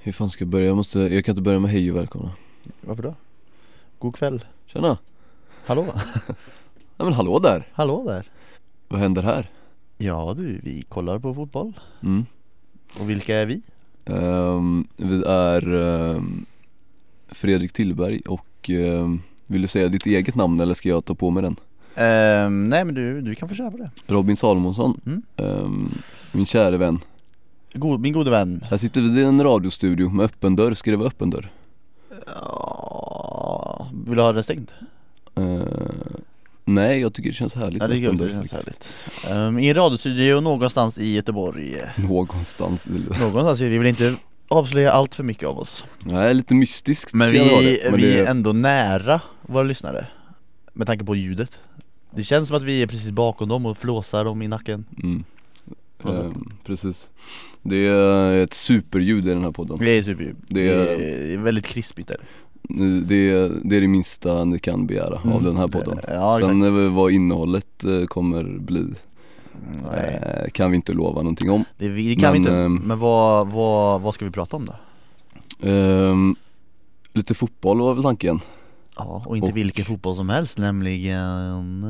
Hur fan ska jag börja? Jag, måste, jag kan inte börja med hej och välkomna Varför då? God kväll. Tjena! Hallå. Nej men hallå där! Hallå där. Vad händer här? Ja du, vi kollar på fotboll. Mm. Och vilka är vi? Ehm, vi är ehm, Fredrik Tillberg och ehm, vill du säga ditt eget namn eller ska jag ta på mig den? Ehm, nej men du, du kan få köra på det. Robin Salomonsson, Mm. Ehm, min käre vän God, min gode vän. Här sitter vi i en radiostudio med öppen dörr, ska det vara öppen dörr? Ja, vill du ha den stängd? Ehm, nej jag tycker det känns härligt Ja det med öppen känns, dörr det känns faktiskt. härligt. Ehm, I en radiostudio någonstans i Göteborg. Någonstans vill du- Någonstans, vi vill inte avslöja allt för mycket av oss. Nej lite mystiskt Men ska jag ha vi, det. Men vi det- är ändå nära våra lyssnare. Med tanke på ljudet. Det känns som att vi är precis bakom dem och flåsar dem i nacken. Mm. På något Ehm, precis. Det är ett superljud i den här podden. Det är super. Det är- det är väldigt krispigt där. Det är det, är det minsta ni kan begära av Mm. den här podden. Ja, exakt. Sen eh, vad innehållet eh, kommer bli Nej, eh, kan vi inte lova någonting om. det, vi- det kan vi Men, inte. ehm, Men vad, vad, vad ska vi prata om då? Ehm, lite fotboll var väl tanken. Ja, och inte och- vilken fotboll som helst, nämligen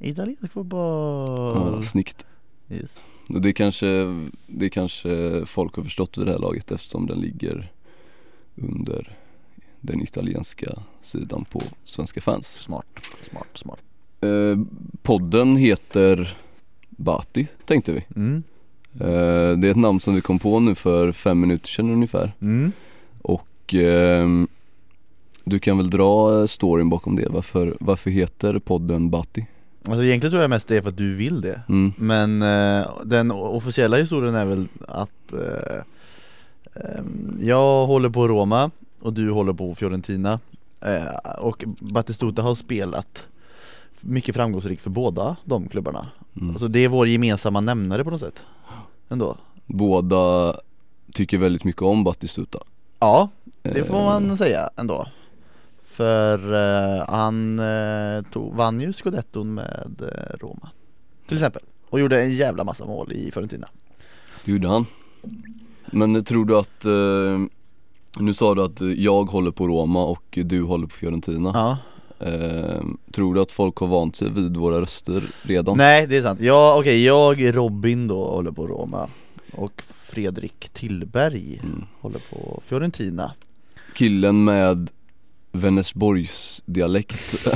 eh, italiensk Ja, fotboll. snyggt. Yes. Och Det kanske, det kanske folk har förstått vid det här laget eftersom den ligger under den italienska sidan på svenska fans. Smart, smart, smart. Eh, podden heter Bati tänkte vi. Mm. Eh, det är ett namn som vi kom på nu för fem minuter sedan ungefär. Mm. Och, ehm, du kan väl dra eh, storyn bakom det. Varför, varför heter podden Bati? Alltså egentligen tror jag mest det är för att du vill det. Mm. Men eh, den o- officiella historien är väl att eh, ehm, jag håller på Roma och du håller på Fiorentina eh, och Batistuta har spelat mycket framgångsrikt för båda de klubbarna. Mm. Så det är vår gemensamma nämnare på något sätt. Ändå. Båda tycker väldigt mycket om Batistuta. Ja, Eh, det får man säga ändå. För eh, han eh, tog, vann ju scudetton med eh, Roma. Till exempel. Och gjorde en jävla massa mål i Fiorentina. Det gjorde han. Men tror du att, eh, nu sa du att jag håller på Roma och du håller på Fiorentina. Ja. Eh, tror du att folk har vant sig vid våra röster redan? Nej det är sant, jag, okej jag Robin då håller på Roma Och Fredrik Tillberg Mm. håller på Fiorentina Killen med Vänersborgs dialekt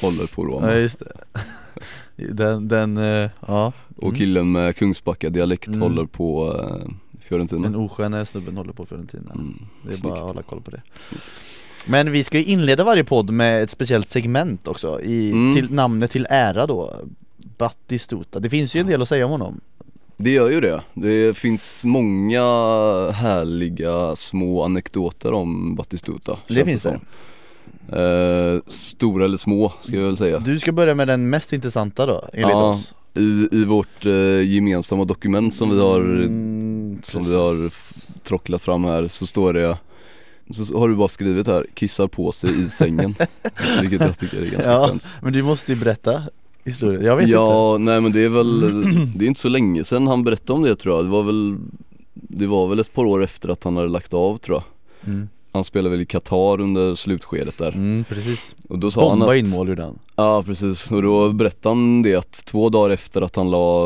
håller på Roma Ja just det Den, den, eh, ja och killen med Kungsbacka dialekt Mm. håller på eh, Fiorentina. Den osköna snubben håller på Fiorentina Mm. Det är snyggt. bara att hålla koll på det Men vi ska ju inleda varje podd med ett speciellt segment också i, Mm. till, Namnet till ära då Battistuta, det finns ju en del att säga om honom Det gör ju det. Det finns många härliga små anekdoter om Batistuta. Det känns finns som. Eh, stora eller små ska jag väl säga. Du ska börja med den mest intressanta då, enligt Ja, oss I, i vårt eh, gemensamma dokument som vi har Mm, som vi har- precis. trocklat fram här så står det så har du bara skrivit här, kissar på sig i sängen. Vilket jag tycker är ganska Ja. skönt. Men du måste ju berätta historien, jag vet inte ja, nej men det är väl, det är inte så länge sedan han berättade om det tror jag. Det var väl, det var väl ett par år efter att han hade lagt av tror jag. mm. Han spelade väl i Qatar under slutskedet där. Mm, precis Och då sa han Bomba att, in mål gjorde han Ja precis, och då berättade han det att två dagar efter att han la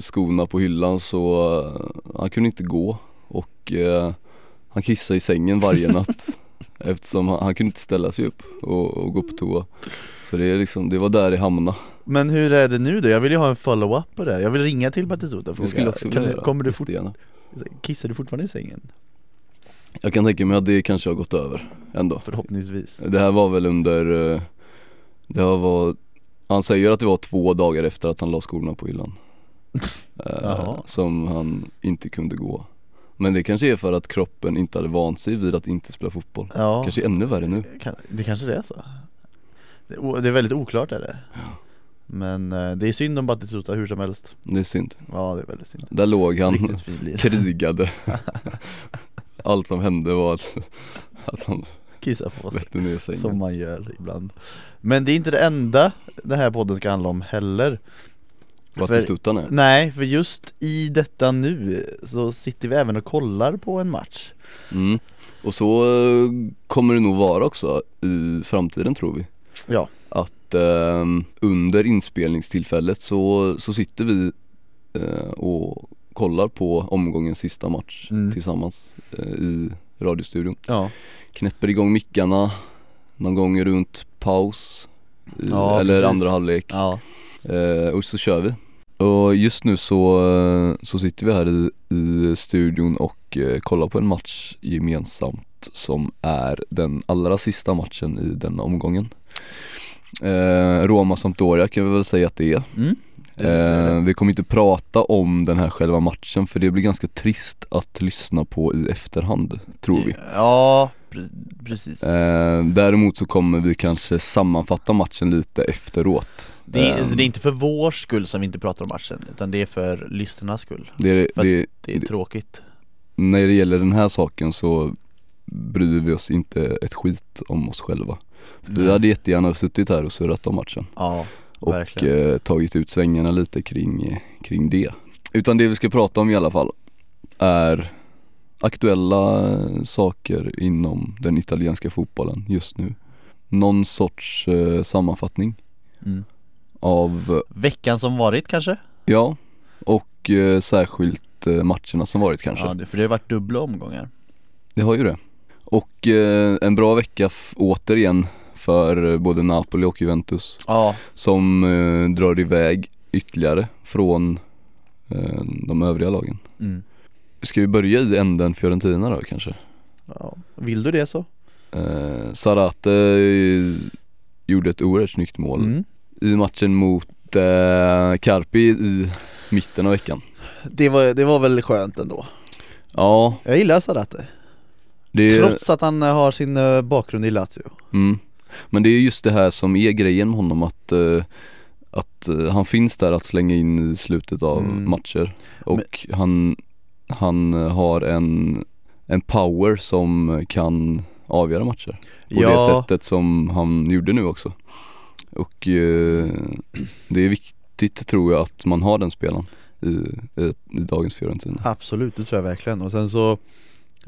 skorna på hyllan så, eh, han kunde inte gå och eh, han kissade i sängen varje natt eftersom han, han kunde inte ställa sig upp och, och gå på toa. Så det är liksom, det var där det hamnade. Men hur är det nu då? Jag vill ju ha en follow-up på det här. Jag vill ringa till Batistuta och Det fråga skulle jag också kan vilja du, göra, kommer du fort, jättegärna. Kissar du fortfarande i sängen? Jag kan tänka mig att det kanske har gått över ändå. Förhoppningsvis Det här var väl under, eh, det här var, han säger att det var två dagar efter att han la skorna på hyllan Eh, Jaha. Som han inte kunde gå Men det kanske är för att kroppen inte hade vant sig vid att inte spela fotboll Ja, Kanske ännu värre nu kan, det kanske det är så Det, är o- det är väldigt oklart är det Men eh, det är synd om Batistuta hur som helst Det är synd Ja det är väldigt synd Där låg han, Riktigt fin lirare krigade Allt som hände var att, att han Kissa på sig vette ner sig Som man gör ibland Men det är inte det enda den här podden ska handla om heller Batistutan är Nej, för just i detta nu så sitter vi även och kollar på en match mm. Och så eh, kommer det nog vara också i framtiden tror vi Ja, Att ehm, under inspelningstillfället så, så sitter vi eh, och kollar på omgångens sista match Mm. tillsammans eh, i radiostudion ja, Knäpper igång mickarna någon gång runt paus i, Ja, eller precis. andra halvlek ja, Eh, och så kör vi. Och just nu så, eh, så sitter vi här i, i studion och eh, kollar på en match gemensamt som är den allra sista matchen i denna omgången. Eh, Roma Sampdoria kan vi väl säga att det är. mm. Eh, vi kommer inte prata om den här själva matchen för det blir ganska trist att lyssna på i efterhand, tror vi. Ja, pre- precis Eh, däremot så kommer vi kanske sammanfatta matchen lite efteråt. det, är, Ehm, så det är inte för vår skull som vi inte pratar om matchen, utan det är för lyssnarnas skull det, är- för- det, Det är tråkigt när det gäller den här saken så bryr vi oss inte ett skit om oss själva. Vi hade jättegärna suttit här och surrat om matchen Mm. Ja, och verkligen eh, tagit ut svängarna lite kring, eh, kring det. Utan det vi ska prata om i alla fall är aktuella eh, saker inom den italienska fotbollen just nu. Någon sorts eh, sammanfattning mm. av, eh, Veckan som varit kanske? ja, och eh, särskilt eh, matcherna som varit kanske. Ja, det- för det har varit dubbla omgångar Det har ju det. Och eh, en bra vecka f- återigen för eh, både Napoli och Juventus Ja, som eh, drar iväg ytterligare från eh, de övriga lagen. mm. Ska vi börja i änden Fiorentina då kanske? ja. Vill du det så? Eh, Sarate eh, gjorde ett oerhört snyggt mål Mm. i matchen mot eh, Carpi i mitten av veckan. Det, var, det var väl skönt ändå Ja, Jag gillar Sarate, det trots att han eh, har sin eh, bakgrund i Lazio Mm. Men det är just det här som är grejen med honom att, eh, att eh, han finns där att slänga in i slutet av Mm. matcher och han, han eh, har en, en power som kan avgöra matcher på det sättet som han gjorde nu också. Och eh, det är viktigt tror jag att man har den spelaren i, i, i dagens Fiorentina. Absolut, det tror jag verkligen. Och sen så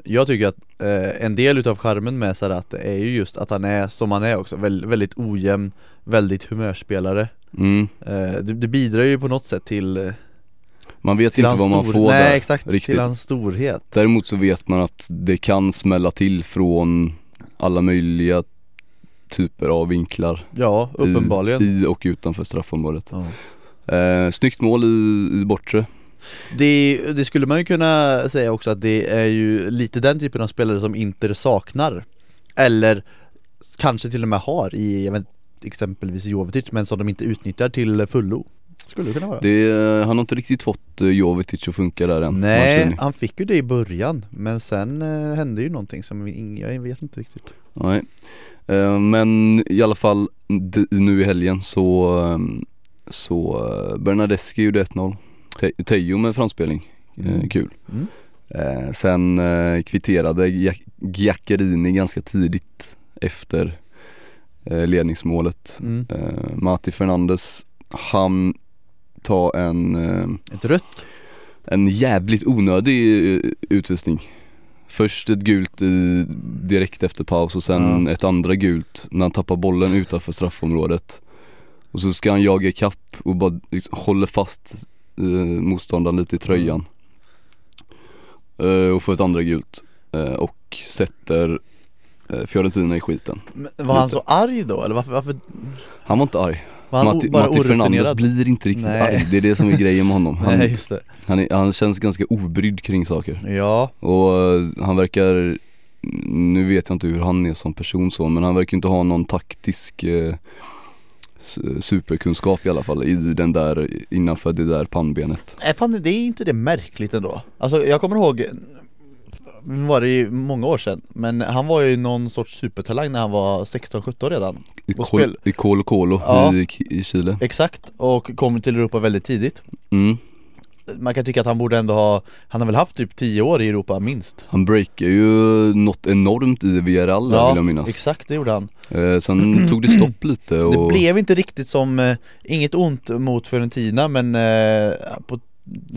Jag tycker att eh, en del utav charmen med Sarate är ju just att han är som han är också, väl, väldigt ojämn, väldigt humörspelare Mm. eh, det, det bidrar ju på något sätt till, eh, Man vet till inte vad man stor- får Nej där. exakt, riktigt. till hans storhet Däremot så vet man att det kan smälla till från alla möjliga typer av vinklar Ja, i- uppenbarligen i och utanför straffområdet. ja. Eh, snyggt mål i, i bortre. det, det skulle man ju kunna säga också att det är ju lite den typen av spelare som Inter saknar Eller kanske till och med har i, jag vet, exempelvis Jovetic men som de inte utnyttjar till fullo Skulle det kunna vara Det, eh, han har inte riktigt fått eh, Jovetic att funka där än. Nej, Mancini. han fick ju det i början men sen eh, hände ju någonting som vi, ing- jag vet inte riktigt Nej. Eh, men i alla fall d- nu i helgen så, eh, så eh, Bernadeschi gjorde 1-0. Te- Tejo med framspelning. Eh, kul. Mm. Eh, sen eh, kvitterade Gia- Giaccherini ganska tidigt efter eh, ledningsmålet. Mm. Eh, Mati Fernandes han tar en, eh, Ett rött? en jävligt onödig eh, utvisning. Först ett gult i, direkt efter paus och sen ett andra gult när han tappar bollen utanför straffområdet. Och så ska han jaga ikapp och bara liksom, håller fast eh, motståndaren lite i tröjan. Eh, och får ett andra gult. Eh, och sätter eh, Fiorentina i skiten. Men, var han Lite. så arg då eller varför, varför Han var inte arg. var han Matti, o- bara Matti Fernandes orutinerad? blir inte riktigt Nej. arg. Det är det som är grejen med honom. Han, Nej just det han, är, han känns ganska obrydd kring saker. Ja, Och eh, han verkar, nu vet jag inte hur han är som person så, men han verkar inte ha någon taktisk eh, s- superkunskap i alla fall i den där, innanför det där pannbenet. äh, fan det är inte det märkligt ändå? Alltså jag kommer ihåg nu var det ju många år sedan, men han var ju någon sorts supertalang när han var 16-17 redan I Och Col- spel- I Colo Colo Ja. i, i Chile. Exakt, och kom till Europa väldigt tidigt Mm. man kan tycka att han borde ändå ha Han har väl haft typ 10 år i Europa minst Han breakar ju något enormt i VRL vill jag minnas exakt det gjorde han eh, Sen tog det stopp lite och Det blev inte riktigt som, eh, inget ont mot Fiorentina men eh, på,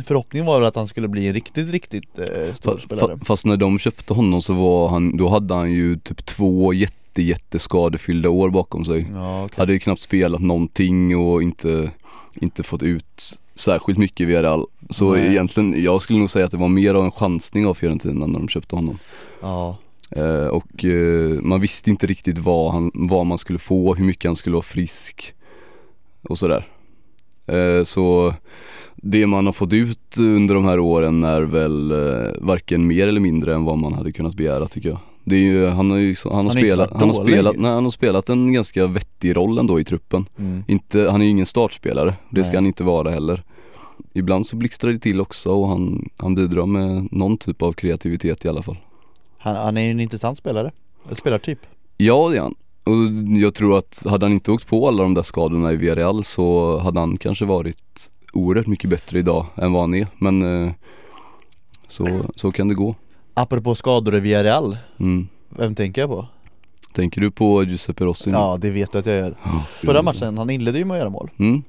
förhoppningen var väl att han skulle bli en riktigt, riktigt eh, stor fa- spelare fa- Fast när de köpte honom så var han, då hade han ju typ två jätte jätteskadefyllda år bakom sig Ja, okej. Hade ju knappt spelat någonting och inte, inte fått ut särskilt mycket i VRL Så Nej. egentligen, jag skulle nog säga att det var mer av en chansning av Fiorentina när de köpte honom ja. Eh, och eh, man visste inte riktigt vad, han, vad man skulle få, hur mycket han skulle vara frisk och sådär. Eh, så det man har fått ut under de här åren är väl eh, varken mer eller mindre än vad man hade kunnat begära tycker jag. Det är ju, han har ju, han har, Han har inte spelat, varit han har dålig. spelat, nej, han har spelat en ganska vettig roll ändå i truppen. Mm. Inte, han är ju ingen startspelare, det ska Nej. han inte vara heller. Ibland så blixtrar det till också och han, han bidrar med någon typ av kreativitet i alla fall. Han, han är ju en intressant spelare, en spelartyp Ja det är han. Och jag tror att hade han inte åkt på alla de där skadorna i Villarreal så hade han kanske varit oerhört mycket bättre idag än vad han är. Men eh, så, så kan det gå. Apropå skador i Villarreal, Mm. vem tänker jag på? Tänker du på Giuseppe Rossi nu? Ja det vet du att jag gör Förra matchen, han inledde ju med att göra mål Mm.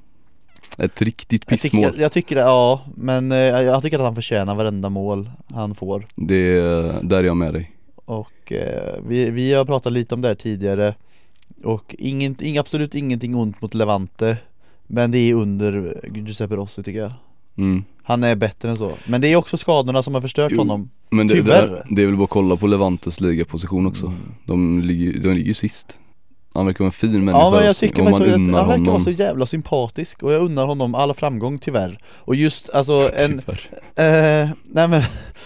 Ett riktigt jag pissmål. tycker, jag tycker, ja, men eh, jag tycker att han förtjänar varenda mål han får Det, där är jag med dig. Och eh, vi, vi har pratat lite om det här tidigare Och inget, ing, absolut ingenting ont mot Levante Men det är under Giuseppe Rossi tycker jag Mm. Han är bättre än så Men det är också skadorna som har förstört Jo, honom Men det, Tyvärr. Mm. det, det är väl bara att kolla på Levantes ligaposition också. De ligger ju de ligger ju sist. Han verkar vara en fin människa Ja men jag och- tycker och man faktiskt att unnar han verkar vara honom. så jävla sympatisk Och jag unnar honom all framgång tyvärr Och just alltså en, Tyvärr. eh, nej men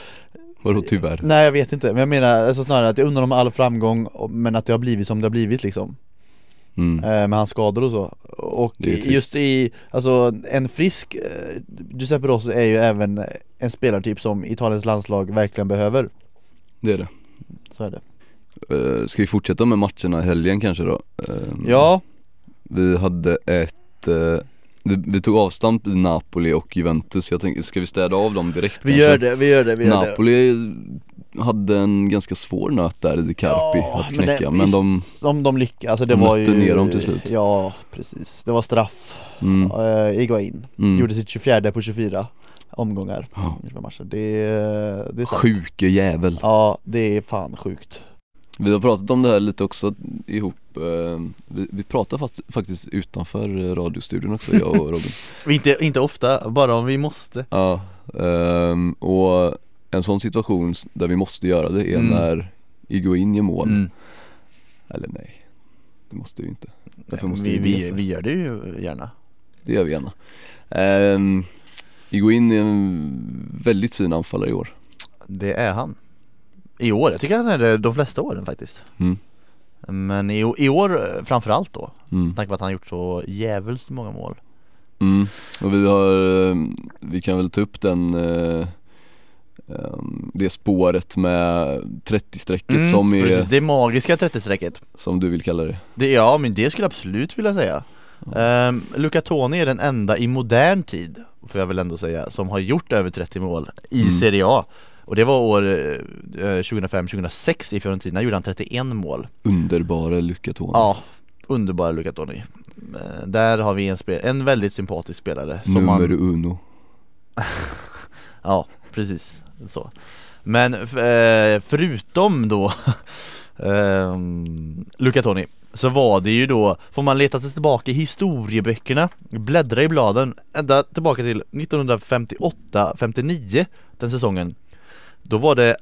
Vadå tyvärr? Nej jag vet inte, men jag menar alltså snarare att jag undrar om all framgång och- men att det har blivit som det har blivit liksom Mm. eh, Med hans skador och så Och Det är ju i- just i, alltså en frisk eh, Giuseppe Rossi är ju även en spelartyp som Italiens landslag verkligen behöver Det är det. Så är det Eh, Ska vi fortsätta med matcherna i helgen kanske då? Eh, Ja, Vi hade ett eh, vi, vi tog avstamp i Napoli och Juventus, jag tänker, ska vi städa av dem direkt? vi gör det, vi gör det, vi gör det Napoli hade en ganska svår nöt där i Carpi Ja, att knäcka, det- men, de, Om de lyckas, alltså det De var ju nötte ner dem till slut. Ja, precis, det var straff mm, eh, Iguain mm, gjorde sitt 24 på 24 omgångar Ja. 24 matcher. Det, eh, det är sant sjuke jävel Ja, det är fan sjukt Vi har pratat om det här lite också ihop, eh, vi, vi pratar fast, faktiskt utanför eh, radiostudion också jag och Robin Inte, inte ofta, bara om vi måste Ja, ehm, och en sån situation s- där vi måste göra det är Mm. när Iguain gör mål, eller nej, det måste vi ju inte Därför måste vi vi, be vi, för. vi gör det ju gärna Det gör vi gärna um, Iguain är en väldigt fin anfallare i år Det är han I år, jag tycker han är det de flesta åren faktiskt Mm. Men i, i år eh, framförallt då, mm. med tanke på att han gjort så jävligt många mål Mm. Och vi har, ehm, vi kan väl ta upp den eh, ehm, det spåret med 30-strecket Typ som, är- Mm, Precis, det magiska 30-strecket som du vill kalla det det, Ja men det skulle jag absolut vilja säga Ehm, Luca Toni är den enda i modern tid, får jag väl ändå säga, som har gjort över 30 mål i Mm. Serie A Och det var år eh, 2005-2006 i Fiorentina gjorde han 31 mål underbara Luca Toni Ja, underbara Luca Toni Eh, Där har vi en, spel- en väldigt sympatisk spelare som Nummer man, uno Ja, precis så Men f- eh, förutom då ehm, Luca Toni Så var det ju då, får man leta sig tillbaka i historieböckerna Bläddra i bladen ända tillbaka till 1958-59 Den säsongen Då var det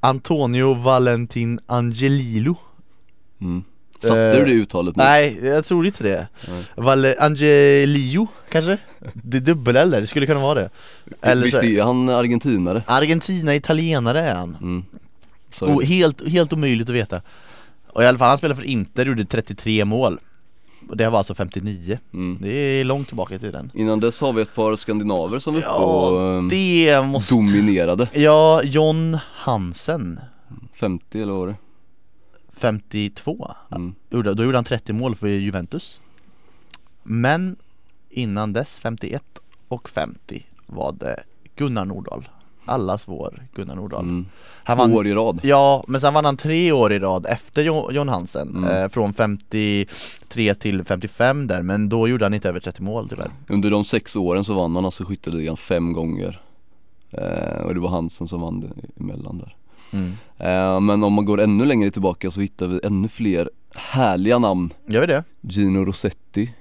Antonio Valentin Angelilo mm. Satte Eh, du det uttalet nu? Nej, jag tror inte det. Nej. Valle Angelio kanske? Det är dubbel eller, det skulle kunna vara det. Eller Visst så, är han argentinare? Argentina, italienare är han. Mm. Så är O, det. helt, helt omöjligt att veta. Och i alla fall, han spelade för Inter, gjorde 33 mål. Och det var alltså 59. mm. Det är långt tillbaka i tiden. Innan dess har vi ett par skandinaver som var uppe och Ja, ehm, det måste... dominerade Ja, John Hansen, 50 eller vad var det? 52. Mm. Gjorde- Då gjorde han 30 mål för Juventus Men innan dess 51 och 50 var det Gunnar Nordahl Allas vår Gunnar Nordahl Mm. Han Två vann år i rad. Ja, men sen vann han tre år i rad efter Jo- John Hansen Mm. eh, Från 53 till 55 där, men då gjorde han inte över 30 mål tyvärr Under de sex åren så vann han alltså skytteligan fem gånger. Eh, och det var Hansen som vann det emellan där. Mm. Eh, men om man går ännu längre tillbaka så hittar vi ännu fler härliga namn. Gör vi det? Gino Rossetti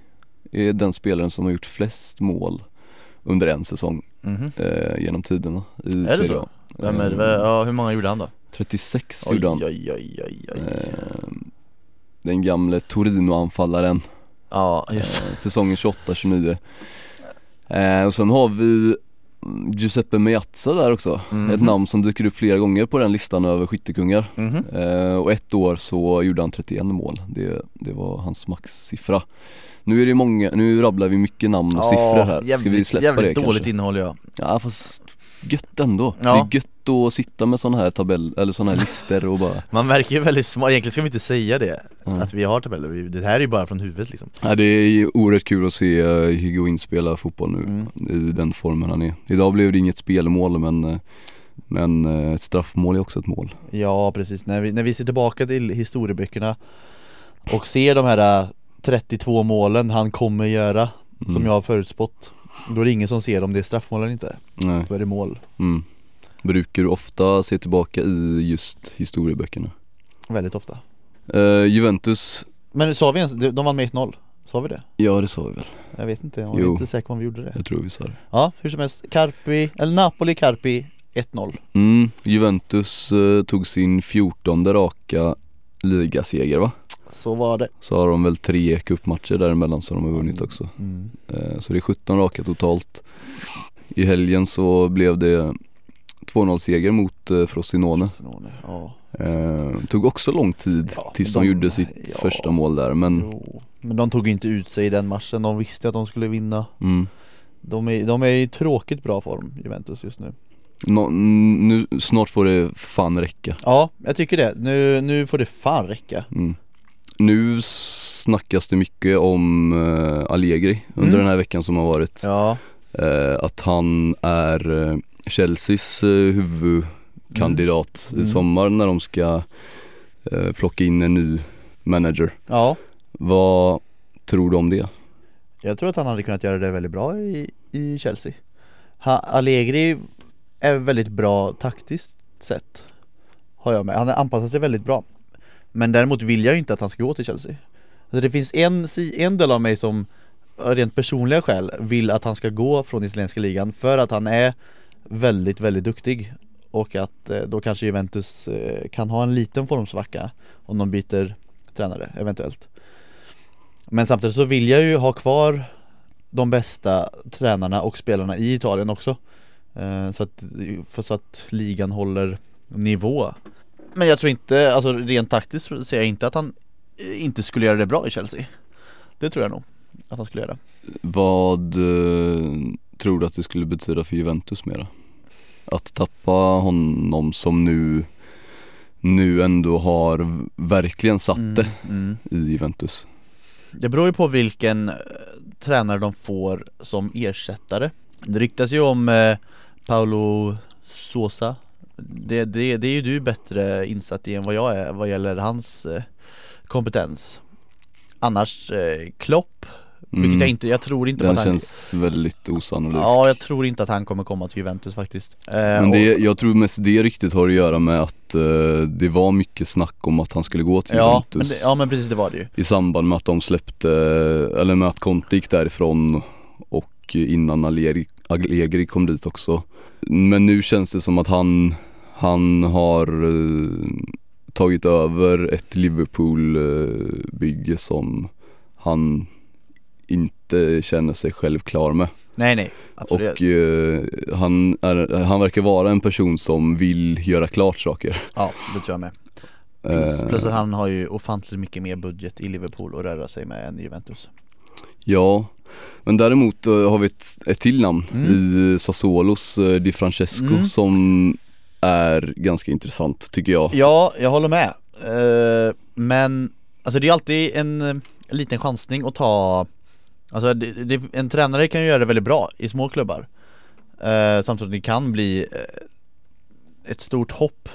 är den spelaren som har gjort flest mål under en säsong Mhm. eh, genom tiderna i det Serie så? A. Vem är det? Eh, Ja, hur många gjorde han då? 36 Oj, gjorde han. oj, oj, oj, oj. Eh, den gamle Torino-anfallaren, Ja, just eh, säsongen 28-29 eh, Och sen har vi mm, Giuseppe Meazza där också, Mhm. ett namn som dyker upp flera gånger på den listan över skyttekungar Mhm. eh, Och ett år så gjorde han 31 mål, det, det var hans maxsiffra nu är det ju många, nu rabblar vi mycket namn och siffror här, ska vi jävligt- släppa jävligt det dåligt kanske? innehåll ja Ja fast gött ändå, Ja. det är gött att sitta med sådana här tabell, eller sådana här listor och bara Man verkar ju väldigt smart, egentligen ska vi inte säga det Mm. Att vi har tabeller, Vi- det här är ju bara från huvudet liksom Ja, det är ju oerhört kul att se eh, Higuain spela fotboll nu Mm. i den formen han är. Idag blev det inget spelmål men, eh, men eh, ett straffmål är också ett mål. Ja precis, när vi, när vi ser tillbaka till historieböckerna och ser de här äh, 32 målen han kommer göra Mm. som jag har förutspått Då är det ingen som ser om det är straffmål eller inte, Nej. då är det mål Mm. Brukar du ofta se tillbaka i just historieböckerna? Väldigt ofta Eh, Juventus, Men sa vi ens, de de vann med 1-0? Sa vi det? ja det sa vi väl, Jag vet inte, jag är Jo. inte säker på om vi gjorde det jag tror vi sa det. Ja, hur som helst, Carpi, eller Napoli Carpi 1-0 Mm. Juventus eh, tog sin 14 raka ligaseger va? Så var det Så har de väl tre cupmatcher däremellan som de har vunnit också. mm. Eh, Så det är 17 raka totalt. I helgen så blev det 2-0 seger mot eh, Frosinone. Frosinone, Ja, Eh, tog också lång tid Ja, tills de, de- gjorde sitt ja. första mål där men jo. Men de tog ju inte ut sig i den matchen, de visste att de skulle vinna mm, De är, de är i tråkigt bra form, Juventus just nu nå- n- nu, snart får det fan räcka. Ja, jag tycker det. Nu, nu får det fan räcka Mm. Nu snackas det mycket om eh, Allegri under Mm. den här veckan som har varit. Ja, Eh, att han är eh, Chelseas eh, huvudkandidat Mm. Mm. i sommar när de ska eh, plocka in en ny manager. ja Vad tror du om det? Jag tror att han hade kunnat göra det väldigt bra i, i Chelsea ha, Allegri är väldigt bra taktiskt sett Har jag med, han har anpassat sig väldigt bra Men däremot vill jag ju inte att han ska gå till Chelsea alltså Det finns en, si- en del av mig som av rent personliga skäl vill att han ska gå från italienska ligan för att han är väldigt, väldigt duktig och att eh, då kanske Juventus eh, kan ha en liten formsvacka om de byter tränare eventuellt. Men samtidigt så vill jag ju ha kvar de bästa tränarna och spelarna i Italien också. Eh, Så att, för så att ligan håller nivå. Men jag tror inte, alltså rent taktiskt så ser jag inte att han eh, inte skulle göra det bra i Chelsea. Det tror jag nog att han skulle göra. Vad eh, tror du att det skulle betyda för Juventus mera? Att tappa honom som nu, nu ändå har verkligen satt det Mm. i Juventus. Det beror ju på vilken eh, tränare de får som ersättare Det ryktas ju om eh, Paolo Sosa det, det, det är ju du bättre insatt i än vad jag är vad gäller hans eh, kompetens Annars eh, Klopp, Mm, vilket jag inte, jag tror inte på den att han känns väldigt osannolik. Ja, jag tror inte att han kommer komma till Juventus faktiskt eh, Men och- det, jag tror mest det riktigt har att göra med att eh, det var mycket snack om att han skulle gå till ja, men Juventus. det, ja men precis det var det ju I samband med att de släppte, eller med att Conte gick därifrån och innan Allegri, Allegri kom dit också. Men nu känns det som att han, han har eh, tagit över ett Liverpool-bygge som han inte känner sig själv klar med. Nej nej, absolut Och eh, han, är, han verkar vara en person som vill göra klart saker. Ja, det tror jag med Plus, Eh, plus att han har ju ofantligt mycket mer budget i Liverpool att röra sig med än i Juventus Ja, men däremot eh, har vi ett, ett till namn Mm. i Sassuolos eh, Di Francesco Mm. som är ganska intressant tycker jag. Ja, jag håller med Eh, Men, alltså det är alltid en eh, liten chansning att ta Alltså det, det, en tränare kan ju göra det väldigt bra i små klubbar Eh, samtidigt som det kan bli eh, ett stort hopp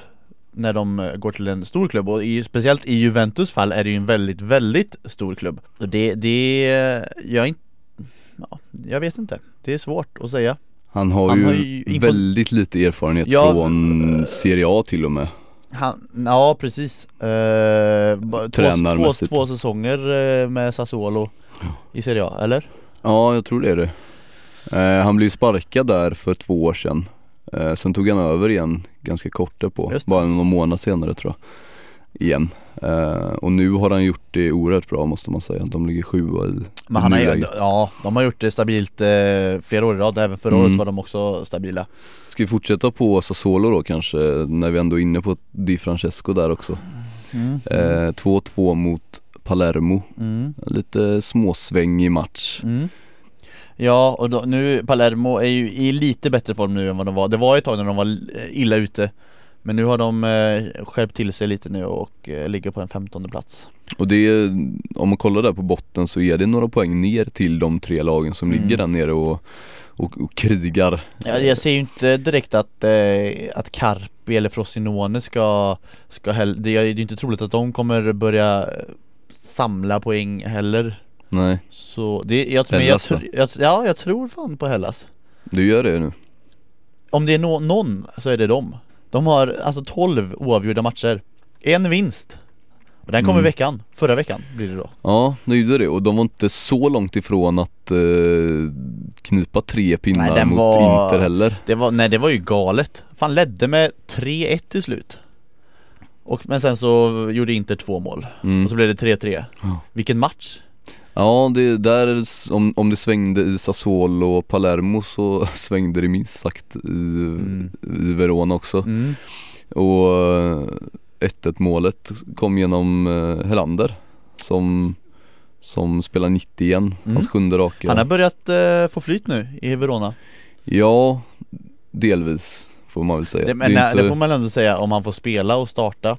när de eh, går till en stor klubb och i, speciellt i Juventus fall är det ju en väldigt, väldigt stor klubb. Och det, det, eh, jag, är inte, ja, jag vet inte. Det är svårt att säga. Han har Han ju, har ju inkom- väldigt lite erfarenhet Ja, från Serie A till och med Han, ja precis. Eh, bara två, två, Tränarmässigt. två säsonger eh, med Sassuolo i Serie A, eller? Ja, jag tror det är det eh, Han blev ju sparkad där för två år sedan eh, Sen tog han över igen ganska kort därpå, Just det. bara någon månad senare tror jag Igen eh, Och nu har han gjort det oerhört bra måste man säga, de ligger sjua i Men han har, ju- nuläget. ja, de har gjort det stabilt eh, flera år i rad, även förra Mm. året var de också stabila. Ska vi fortsätta på Sassuolo då kanske, när vi ändå är inne på Di Francesco där också Mm. eh, 2-2 mot Palermo, Mm. lite småsvängig match Mm. Ja, och då, nu Palermo är ju i lite bättre form nu än vad de var. Det var ett tag när de var eh, illa ute. Men nu har de eh, skärpt till sig lite nu och eh, ligger på en femtonde plats. Och det är, om man kollar där på botten så är det några poäng ner till de tre lagen som Mm. ligger där nere och, och, och krigar Jag, jag ser ju inte direkt att, eh, att Carpi eller Frosinone ska, ska heller, det är det är ju inte troligt att de kommer börja eh, samla poäng heller. Nej, Så det, jag, men jag, Hellas, va? tr- jag, ja, jag tror fan på Hellas. du gör det nu Om det är nå- någon så är det dem. De har alltså 12 oavgjorda matcher. En vinst. Och den kom Mm. i veckan. Förra veckan blir det då. Ja, det gjorde det och de var inte så långt ifrån att eh, knipa tre pinnar Nej, den mot var- Inter heller Det var, nej det var ju galet. Fan ledde med 3-1 till slut. Och, men sen så gjorde Inter två mål. mm. Och så blev det 3-3. Ja. Vilken match! Ja, det där, om, om det svängde i Sassuolo och Palermo så svängde det minst sagt i, Mm. i Verona också Mm. Och eh, 1-1 målet kom genom eh, Helander som, som spelar 90 igen, Mm. hans sjunde raka Han har börjat eh, få flyt nu i Verona. Ja, delvis får man väl säga det, men, är nej, inte- det får man ändå säga om han får spela och starta.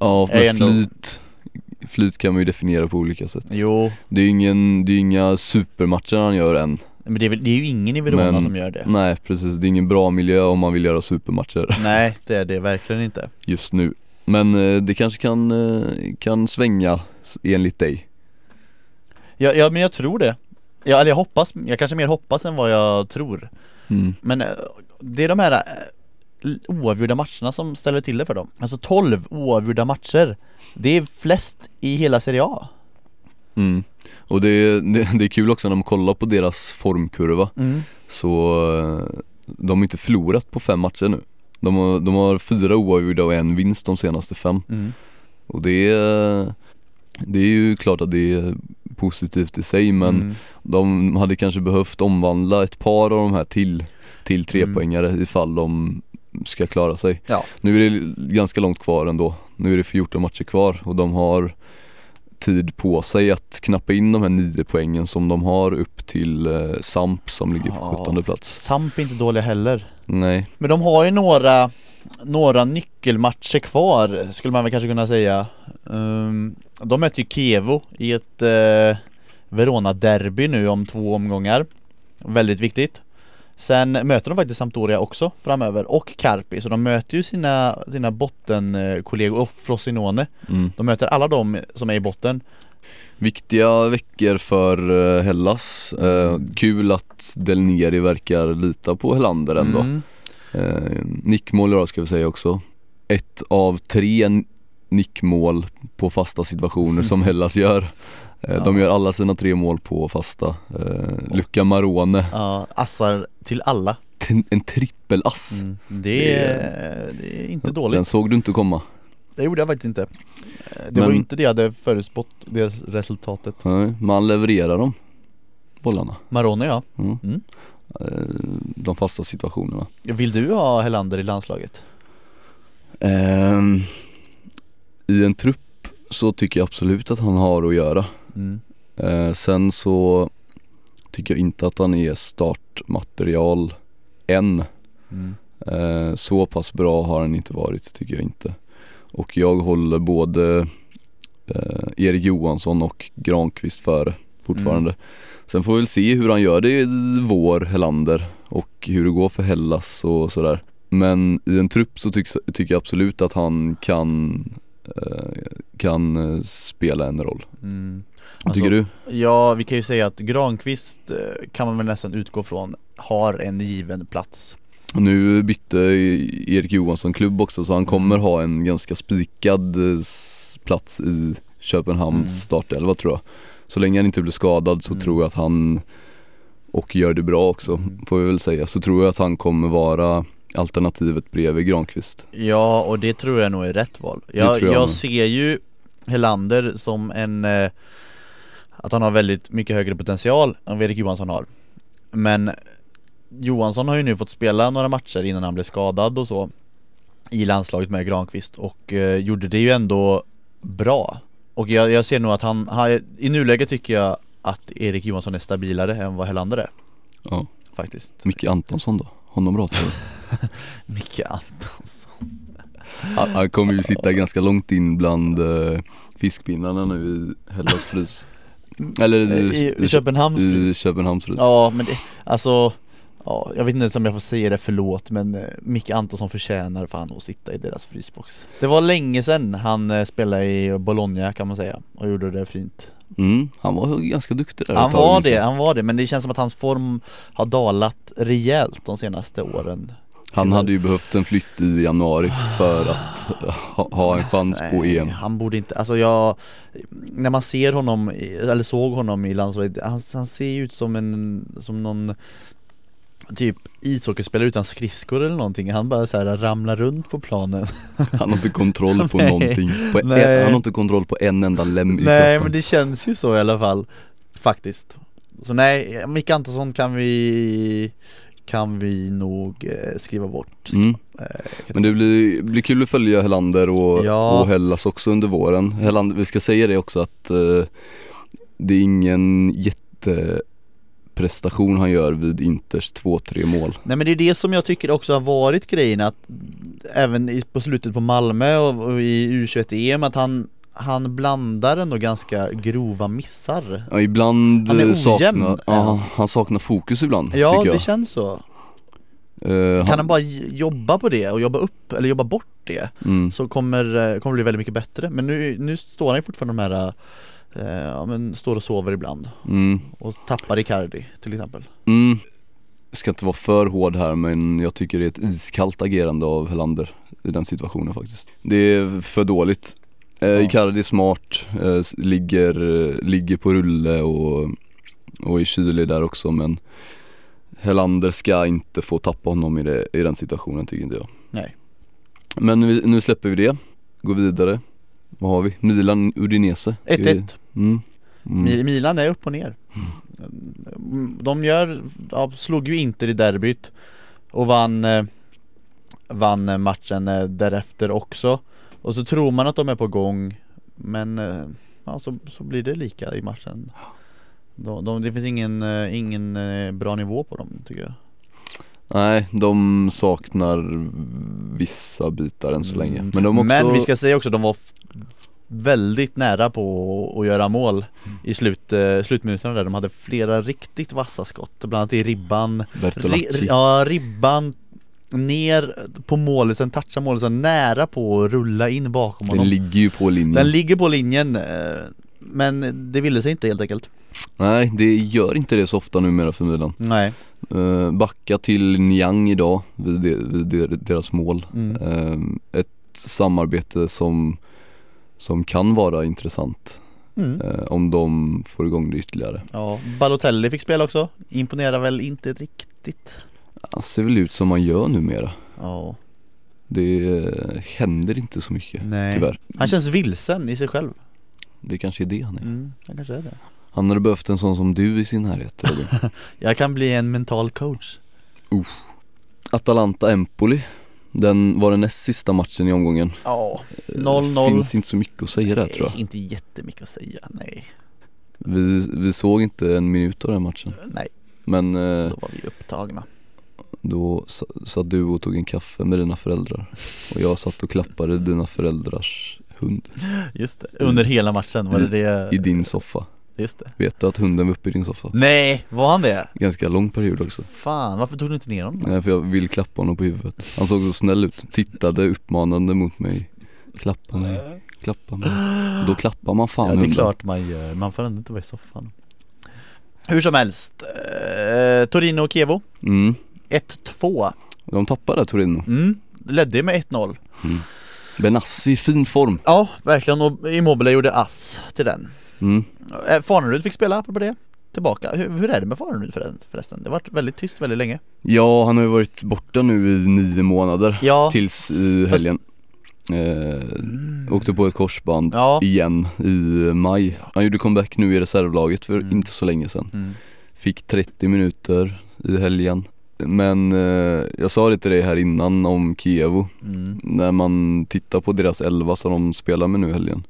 Ja, är men ändå- flyt Flyt kan man ju definiera på olika sätt Jo, Det är ju ingen, det är inga supermatcher han gör än men det är, väl, det är ju ingen i Verona Men- som gör det. Nej precis, det är ingen bra miljö om man vill göra supermatcher Nej, det är det verkligen inte. just nu Men eh, det kanske kan, eh, kan svänga s- enligt dig Ja, ja men jag tror det. Ja, eller jag hoppas, jag kanske mer hoppas än vad jag tror. mm. Men eh, det är de här eh, l- oavgjorda matcherna som ställer till det för dem. Alltså 12 oavgjorda matcher. Det är flest i hela Serie A. Mm. Och det, det, det är kul också när man kollar på deras formkurva Så eh, de har inte förlorat på fem matcher nu De har, de har fyra oavgjorda och en vinst de senaste fem Mm. Och det är, det är ju klart att det är positivt i sig men Mm. de hade kanske behövt omvandla ett par av de här till Till Mm. trepoängare ifall de ska klara sig Ja. Nu är det ganska långt kvar ändå Nu är det 14 matcher kvar och de har tid på sig att knappa in de här nio poängen som de har upp till eh, Samp som ligger på Ja. 17 plats Samp är inte dåliga heller. Nej, Men de har ju några, några nyckelmatcher kvar skulle man väl kanske kunna säga. Ehm, de möter ju Kevo i ett eh, Verona-derby nu om två omgångar. Väldigt viktigt. Sen möter de faktiskt Sampdoria också framöver och Carpi så de möter ju sina, sina bottenkollegor och Frosinone. mm. De möter alla de som är i botten. Viktiga veckor för eh, Hellas eh, Mm. Kul att Del Neri verkar lita på Helander ändå Mm. Eh, nickmål idag ska vi säga också. Ett av tre n- nickmål på fasta situationer som Hellas gör. Eh, de Ja. gör alla sina tre mål på fasta. Eh, Luca Marone, Ja, assar till alla. Ten- en trippelass. Mm. Det Det, är- är, det är inte dåligt. Den såg du inte komma. Det gjorde jag faktiskt inte. Det Men- var ju inte det jag hade förutspått, det resultatet. Nej, men han levererar dem, bollarna. Marone ja. Mm. Mm. Eh, de fasta situationerna. Vill du ha Helander i landslaget? Ehm, I en trupp så tycker jag absolut att han har att göra. Mm. Eh, sen så tycker jag inte att han är startmaterial än. Mm. Eh, så pass bra har han inte varit tycker jag inte. Och jag håller både eh, Erik Johansson och Granqvist före fortfarande. Sen får vi väl se hur han gör det i vår, Helander. och hur det går för Hellas och sådär. Men i en trupp så tycks, tycker jag absolut att han kan, eh, kan eh, spela en roll. Mm. Vad tycker Alltså, du? Ja, vi kan ju säga att Granqvist eh, kan man väl nästan utgå från har en given plats. Nu bytte Erik Johansson klubb också så han kommer ha en ganska spikad eh, s- plats i Köpenhamns Mm. startelva tror jag. Så länge han inte blir skadad så Mm. tror jag att han, och gör det bra också Mm. får vi väl säga, så tror jag att han kommer vara alternativet bredvid Granqvist. Ja, och det tror jag nog är rätt val. Det Jag, tror jag jag, med. ser ju Helander som en eh, Att han har väldigt mycket högre potential än vad Erik Johansson har Men Johansson har ju nu fått spela några matcher innan han blev skadad och så I landslaget med Granqvist och eh, gjorde det ju ändå bra Och jag, jag ser nog att han, han, i nuläget tycker jag att Erik Johansson är stabilare än vad Helander är Ja. Faktiskt Micke Antonsson då? Honom ratar du? Micke Antonsson Han- Han kommer ju sitta ganska långt in bland eh, fiskpinnarna nu i Hellas frys. Eller i, I, i i, Köpenhamns i pris. Köpenhamns frys. Ja men det, alltså Ja, jag vet inte ens om jag får säga det, förlåt men eh, Micke Antonsson förtjänar fan att sitta i deras frysbox Det var länge sedan han eh, spelade i Bologna kan man säga och gjorde det fint Mm, han var ganska duktig där ett Han tag, var minns det, jag. han var det men det känns som att hans form har dalat rejält de senaste åren Han hade ju behövt en flytt i januari för att ha, ha en chans på Nej, EM Han borde inte, alltså jag När man ser honom, i- eller såg honom i landslaget Han, han ser ju ut som en, som någon Typ ishockeyspelare utan skridskor eller någonting Han bara så här ramlar runt på planen Han har inte kontroll på Nej. någonting på en, Nej. Han har inte kontroll på en enda lem i Nej kroppen men det känns ju så i alla fall Faktiskt Så nej, Micke Antonsson kan vi Kan vi nog eh, skriva bort mm. Eh, Men det blir, blir kul att följa Helander och, Ja. och Hellas också under våren Helander, Vi ska säga det också att eh, Det är ingen jätteprestation han gör vid Inters 2-3 mål Nej men det är det som jag tycker också har varit grejen att Även i, på slutet på Malmö och, och i U21-EM att han Han blandar ändå ganska grova missar ja, Ibland Han är eh, ojämn, saknar är han. ja, han saknar fokus ibland Ja tycker jag det känns så Eh, han- Kan han bara j- jobba på det och jobba upp eller jobba bort det mm. Så kommer, eh, kommer det bli väldigt mycket bättre Men nu, nu står han ju fortfarande de här eh, Ja men står och sover ibland Mm. och tappar Icardi till exempel Mm. Jag Ska inte vara för hård här men jag tycker det är ett iskallt agerande av Helander i den situationen faktiskt. Det är för dåligt. Eh, Ja. Icardi är smart, eh, s- ligger, eh, ligger på rulle och, och är kylig där också men Helander ska inte få tappa honom i, det, i den situationen tycker inte jag. Nej. Men nu, nu släpper vi det, går vidare. Vad har vi? Milan Udinese. 1-1 Mm. Mm. Mi- Milan är upp och ner Mm, De gör, ja, slog ju Inter i derbyt Och vann, eh, vann eh, matchen eh, därefter också Och så tror man att de är på gång Men eh, ja, så, så blir det lika i matchen de, de, Det finns ingen, eh, ingen eh, bra nivå på dem tycker jag Nej, de saknar vissa bitar än så Mm. länge. Men de också, Men vi ska säga också, de var f- f- väldigt nära på att göra mål Mm. i slut, eh, slutminuterna där. De hade flera riktigt vassa skott, bland annat i ribban. Ri, Bertolacci. ja, ribban ner på målisen, toucha målisen, nära på att rulla in bakom Den honom. ligger ju på linjen. Den ligger på linjen, eh, men det ville sig inte helt enkelt. Nej, det gör inte det så ofta numera för Milan. Nej. Eh, backa till Niang idag vid, de, vid de, deras mål. Mm. Eh, ett samarbete som, som kan vara intressant Mm. eh, om de får igång det ytterligare. Ja, Balotelli fick spela också. Imponerar väl inte riktigt. Han ser väl ut som man gör numera. Ja. Det eh, händer inte så mycket. Nej. Tyvärr. Han känns vilsen i sig själv. Det kanske är det han är. Mm, han kanske är det. Han hade behövt en sån som du i sin närhet Robin. Jag kan bli en mental coach Atalanta-Empoli Den var den näst sista matchen i omgången Ja, Eh, 0-0. Finns inte så mycket att säga där tror jag Inte jättemycket att säga, nej Vi, vi såg inte en minut av den matchen Nej, Men eh, då var vi upptagna då sa- satt du och tog en kaffe med dina föräldrar Och jag satt och klappade dina föräldrars hund Just det, under hela matchen var det det i din soffa i, Just det Vet du att hunden var uppe i din soffa? Nej, var han det? Ganska lång period också Fan, varför tog du inte ner honom? Nej för jag vill klappa honom på huvudet Han såg så snäll ut, tittade uppmanande mot mig Klappa mig, klappa mig Då klappar man fan Ja det är hunden. klart man gör, man får ändå inte vara i soffan Hur som helst, eh, Torino och Kevo Mm, 1-2 de tappade Torino mm. Ledde ju med 1-0 Benassi i fin form Ja, verkligen och Immobile gjorde ass till den mm. Eh, Farnerud fick spela, apropå det Tillbaka, hur, hur är det med Farnerud förresten- förresten? Det har varit väldigt tyst väldigt länge Ja han har ju varit borta nu i nio månader Ja, Tills i Fast- helgen eh, Åkte på ett korsband Mm. ja igen i maj Han gjorde comeback nu i reservlaget för Mm. inte så länge sedan mm. Fick 30 minuter i helgen Men eh, jag sa det till dig här innan om Kievo Mm. När man tittar på deras elva som de spelar med nu i helgen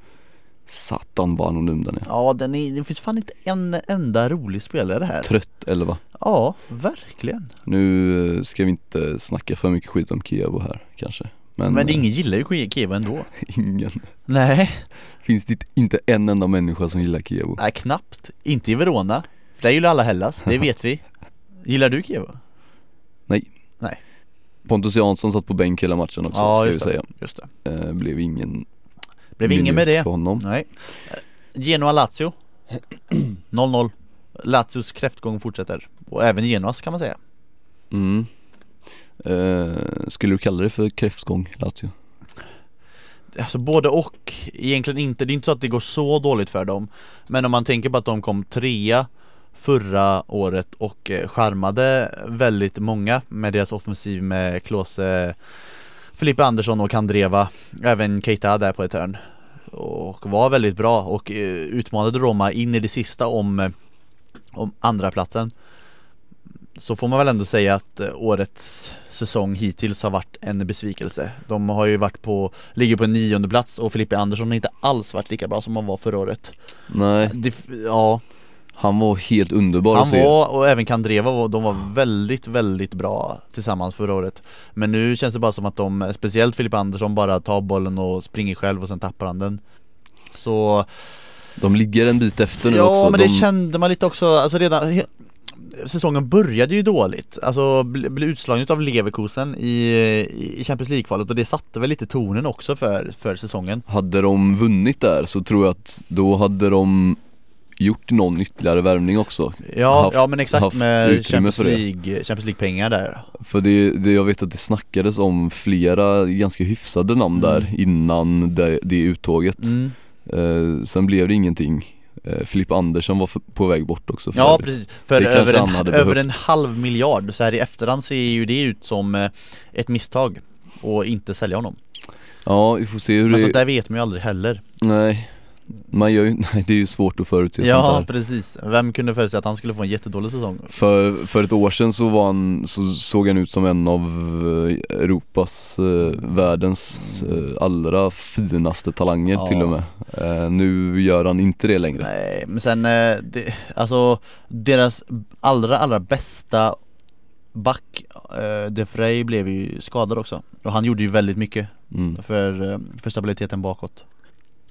Satan vad anonym den är Ja, den är, det finns fan inte en enda rolig spelare här Trött elva Ja, verkligen Nu eh, ska vi inte snacka för mycket skit om Kievo här kanske Men, Men eh, ingen gillar ju Kiev ändå ingen Nej Finns det inte en enda människa som gillar Kievo? Nej, knappt. Inte i Verona. För där gillar alla Hellas, det vet vi. Gillar du Kiev? Pontus Jansson satt på bänk hela matchen också ska vi just säga det. Just det. eh, Blev ingen Blev ingen med minut det. för honom Nej. Eh, Genoa-Lazio. 0-0. Lazios kräftgång fortsätter. Och även Genoas kan man säga. mm. eh, Skulle du kalla det för kräftgång Lazio? Alltså både och. Egentligen inte. Det är inte så att det går så dåligt för dem. Men om man tänker på att de kom trea förra året och eh, charmade väldigt många med deras offensiv med Klose, Filippe Andersson och Kandreva. Även Keita där på ett hörn. Och var väldigt bra och eh, utmanade Roma in i det sista om, eh, om andra platsen så får man väl ändå säga att eh, årets säsong hittills har varit en besvikelse. De har ju varit på, ligger på en nionde plats och Filippe Andersson har inte alls varit lika bra som han var förra året. Nej, Det, f- ja, han var helt underbar att han se var och även Kandreva var, de var väldigt, väldigt bra tillsammans förra året. Men nu känns det bara som att de, speciellt Filippe Andersson, bara tar bollen och springer själv och sen tappar han den. Så De ligger en bit efter nu ja, också men de... det kände man lite också, alltså redan he- Säsongen började ju dåligt, alltså bl- blev utslagen av Leverkusen i, i Champions League-kvalet och det satte väl lite tonen också för, för säsongen Hade de vunnit där så tror jag att då hade de gjort någon ytterligare värvning också Ja, Haft- ja men exakt haft med utrymme Champions för det. League, Champions League-pengar där För det, det, jag vet att det snackades om flera ganska hyfsade namn Mm. där innan det, det uttåget mm. Eh, sen blev det ingenting. Eh, Filip Andersson var f- på väg bort också för Ja precis, för det kanske över, han hade en, över behövt. en halv miljard så här i efterhand ser ju det ut som eh, ett misstag och inte sälja honom ja, vi får se hur Men det... sånt där vet man ju aldrig heller Nej, man gör ju... Nej, det är ju svårt att förutse Ja sånt där. precis, vem kunde förutse att han skulle få en jättedålig säsong? För, för ett år sedan så, var han, så såg han ut som en av eh, Europas, eh, världens eh, allra finaste talanger Ja. till och med. Eh, nu gör han inte det längre. Nej, men sen eh, det, alltså deras allra, allra bästa back eh, De Frey blev ju skadad också och han gjorde ju väldigt mycket Mm. för, eh, för stabiliteten bakåt.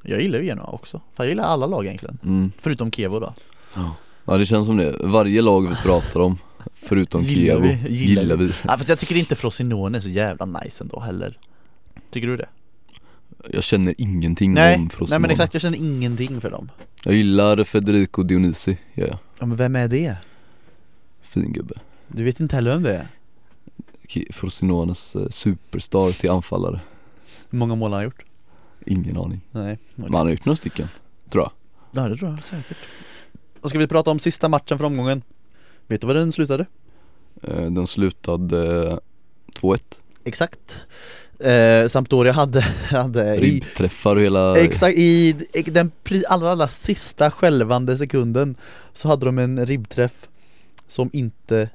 Jag gillar ju Genoa också, för jag gillar alla lag egentligen. Mm. Förutom Kevo då. Ja det känns som det. Varje lag vi pratar om, förutom Gillar Kievo, vi, gillar, gillar vi. vi. Nej, Ah, fast jag tycker inte Frosinone är så jävla nice ändå heller. Tycker du det? Jag känner ingenting Nej, om Frosinone. nej men exakt, jag känner ingenting för dem. Jag gillar Federico Dionisi, ja, ja. Ja, men vem är det? Fin gubbe Du vet inte heller vem det är? Ki- Frosinones eh, superstar till anfallare Hur många mål har han gjort? Ingen aning Nej. Men han har gjort några stycken, tror jag Ja det tror jag säkert Då ska vi prata om sista matchen för omgången Vet du var den slutade? Eh, Den slutade eh, 2-1 Exakt eh, Sampdoria hade, hade Eh, i, Ribbträffar och hela exakt, i den pri- allra, allra sista skälvande sekunden Så hade de en ribbträff Som inte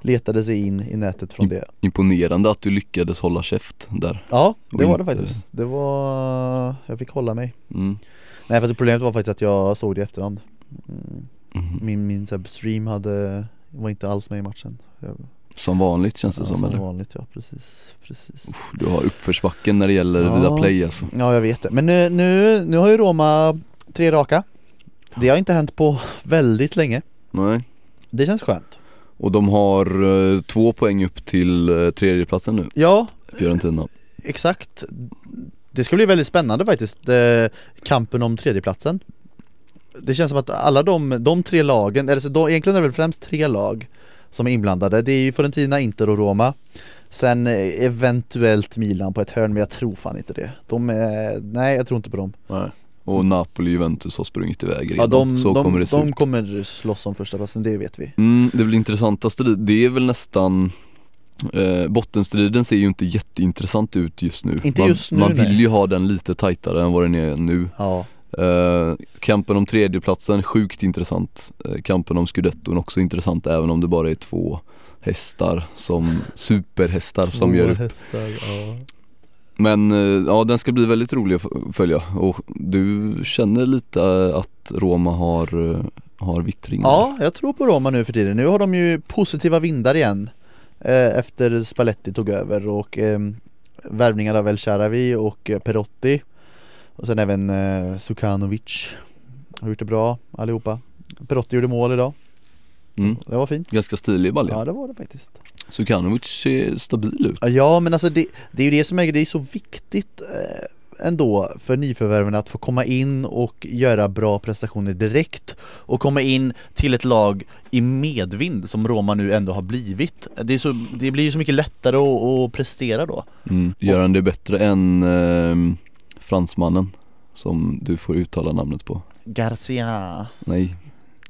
letade sig in i nätet från det Imponerande att du lyckades hålla käft där Ja, det Och var det inte- faktiskt Det var... Jag fick hålla mig mm. Nej för att problemet var faktiskt att jag såg det i efterhand Mm, Mhm. Min, min så här, stream hade, var inte alls med i matchen jag, Som vanligt känns det Ja, som, som eller? vanligt ja, precis, precis. Du har uppförsbacken när det gäller Ja. Viaplay alltså Ja jag vet det, men nu, nu, nu har ju Roma tre raka Det har inte hänt på väldigt länge Nej. Det känns skönt Och de har eh, två poäng upp till eh, tredjeplatsen nu, Ja, Fiorentina. exakt Det ska bli väldigt spännande faktiskt eh, Kampen om tredjeplatsen Det känns som att alla de, de tre lagen, eller så de, egentligen är det väl främst tre lag Som är inblandade, det är ju Fiorentina, Inter och Roma Sen eh, eventuellt Milan på ett hörn, men jag tror fan inte det De är, nej jag tror inte på dem Och Napoli och Juventus har sprungit iväg redan, Ja, de, så de, kommer det se de ut. kommer slåss om första platsen, det vet vi Mm, det är väl intressantaste, det- det är väl nästan eh, Bottenstriden ser ju inte jätteintressant ut just nu Inte man, just nu, Man nej. vill ju ha den lite tajtare än vad den är nu Ja, eh, Kampen om tredjeplatsen, sjukt intressant eh, Kampen om scudetton också intressant även om det bara är två hästar som superhästar som gör upp hästar, ja. Men eh, ja den ska bli väldigt rolig att f- följa och du känner lite eh, att Roma har, eh, har vittringar ja, jag tror på Roma nu för tiden. Nu har de ju positiva vindar igen eh, efter Spalletti tog över och eh, värvningar av El Sharawi och eh, Perotti och sen även eh, Sukanovic har gjort det bra allihopa. Perotti gjorde mål idag, mm. det var fint. Ganska stilig balja Ja, det var det faktiskt. Sukanovic ser stabil ut. Ja men alltså det, det är ju det som är, det är så viktigt eh, ändå för nyförvärven att få komma in och göra bra prestationer direkt och komma in till ett lag i medvind som Roma nu ändå har blivit. Det, är så, det blir ju så mycket lättare att, att prestera då. Gör han det bättre än eh, fransmannen som du får uttala namnet på? Garcia Nej,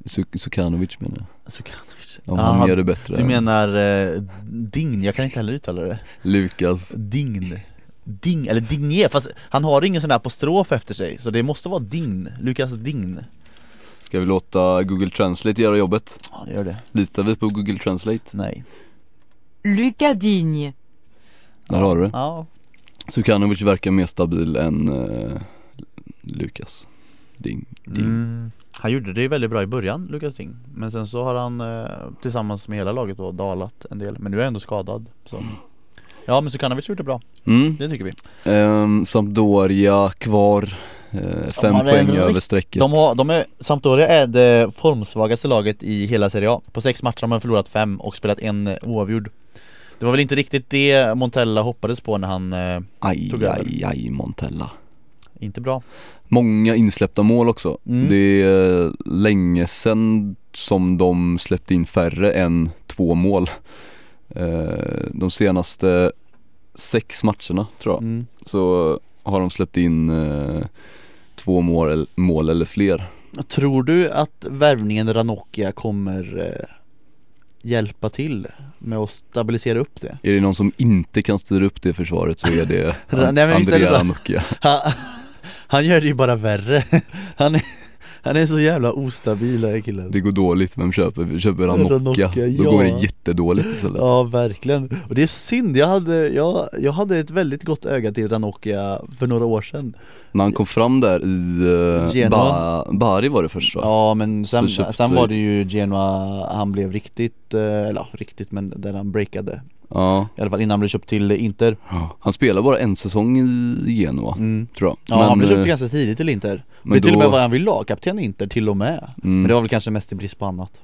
Su- Sukanovic menar jag. Sukanovic. Om han gör Aha, det bättre Ah, du än menar eh, Dign, jag kan inte heller uttala det. Lukas. Dign. Ding, eller Digné, fast han har ingen sån där apostrof efter sig så det måste vara Dign, Lukas Dign. Ska vi låta Google Translate göra jobbet? Ja, det gör det. Litar vi på Google Translate? Nej. Lucas Digne. Där har du det. Ja, Sukanovic verkar mer stabil än eh, Lukas. Ding, ding. Mm. Han gjorde det ju väldigt bra i början, Lukas Ting. Men sen så har han eh, tillsammans med hela laget då dalat en del. Men nu är han ändå skadad. Så. Ja men Sukanovic har gjort det bra, Mm. det tycker vi. Ehm, Sampdoria kvar, eh, fem har en poäng rikt- över strecket. De har, de är, Sampdoria är det formsvagaste laget i hela Serie A. På sex matcher har man förlorat fem och spelat en eh, oavgjord. Det var väl inte riktigt det Montella hoppades på när han, eh, Aj, tog över. aj, aj Montella. inte bra. Många insläppta mål också. Mm. Det är eh, länge sedan som de släppte in färre än två mål. Eh, De senaste sex matcherna tror jag, Mm. så har de släppt in eh, två mål, mål eller fler. Tror du att värvningen Ranocchia kommer eh, hjälpa till med att stabilisera upp det? Är det någon som inte kan styra upp det försvaret så är det Nej, men visst är det Andrea så. Ranocchia. Han, han gör det ju bara värre Han är, han är så jävla ostabil den här killen Det går dåligt, vem köper? Vi köper Ranocchia. Ranocchia, Då ja. går det jättedåligt istället. Ja verkligen, och det är synd, jag hade, jag, jag hade ett väldigt gott öga till Ranocchia för några år sedan När han kom fram där i eh, Genoa. ba- Bari var det först va? Ja men sen, Så köpte- sen var det ju Genoa, han blev riktigt, eh, eller ja, riktigt men där han breakade ja. I alla fall innan han blev köpt till Inter Han spelar bara en säsong i Genoa, mm. tror jag Ja han blev köpt eh, ganska tidigt till Inter men Men till och då- med var han vill ha, kapten i Inter till och med mm. Men det var väl kanske mest i brist på annat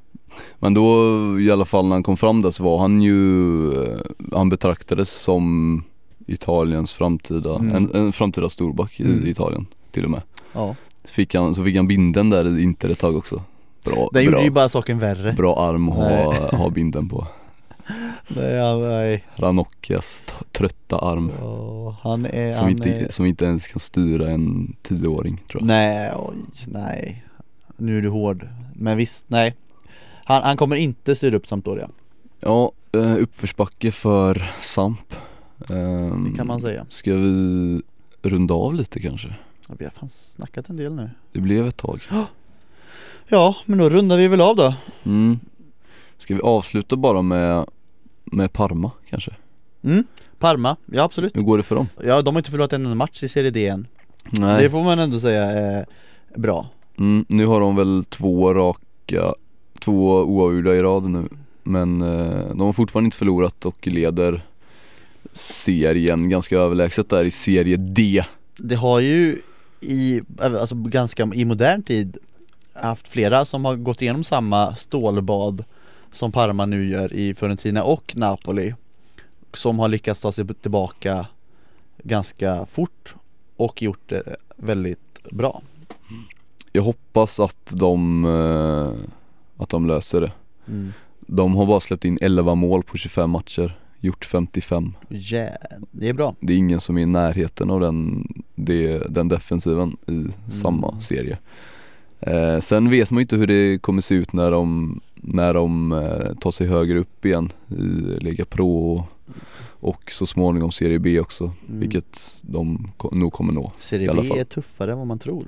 Men då i alla fall när han kom fram där så var han ju, eh, han betraktades som Italiens framtida, Mm. en, en framtida storback i Mm. Italien till och med Ja fick han, Så fick han binden där i Inter ett tag också Bra, Den gjorde bra, ju bara saken värre bra arm att ha, ha binden på Nej, ja, nej. Ranocchias t- trötta arm Ja, han är, som han inte, är... som inte ens kan styra en tioåring tror jag Nej, oj, nej Nu är du hård Men visst, nej Han, han kommer inte styra upp Sampdoria, Ja, eh, uppförsbacke för Samp Ehm, det kan man säga Ska vi runda av lite kanske? Ja, Vi har fan snackat en del nu Det blev ett tag Ja, men då rundar vi väl av då mm. Ska vi avsluta bara med, med Parma kanske? mm? Parma, ja absolut Hur går det för dem? Ja, de har inte förlorat en enda match i Serie D än Nej, Det får man ändå säga är bra mm, nu har de väl två raka, två oavgjorda i rad nu Men eh, de har fortfarande inte förlorat och leder serien ganska överlägset där i serie D Det har ju i, alltså ganska, i modern tid haft flera som har gått igenom samma stålbad som Parma nu gör i Fiorentina och Napoli som har lyckats ta sig tillbaka ganska fort och gjort det väldigt bra. Jag hoppas att de, eh, att de löser det. De har bara släppt in 11 mål på 25 matcher, gjort 55. Yeah, det är bra. Det är ingen som är i närheten av den, det, den defensiven i Mm. samma serie. Eh, sen vet man ju inte hur det kommer se ut när de, när de eh, tar sig högre upp igen i Liga Pro och, och så småningom Serie B också, Mm. vilket de ko- nog kommer nå. i Serie alla B fall. är tuffare än vad man tror.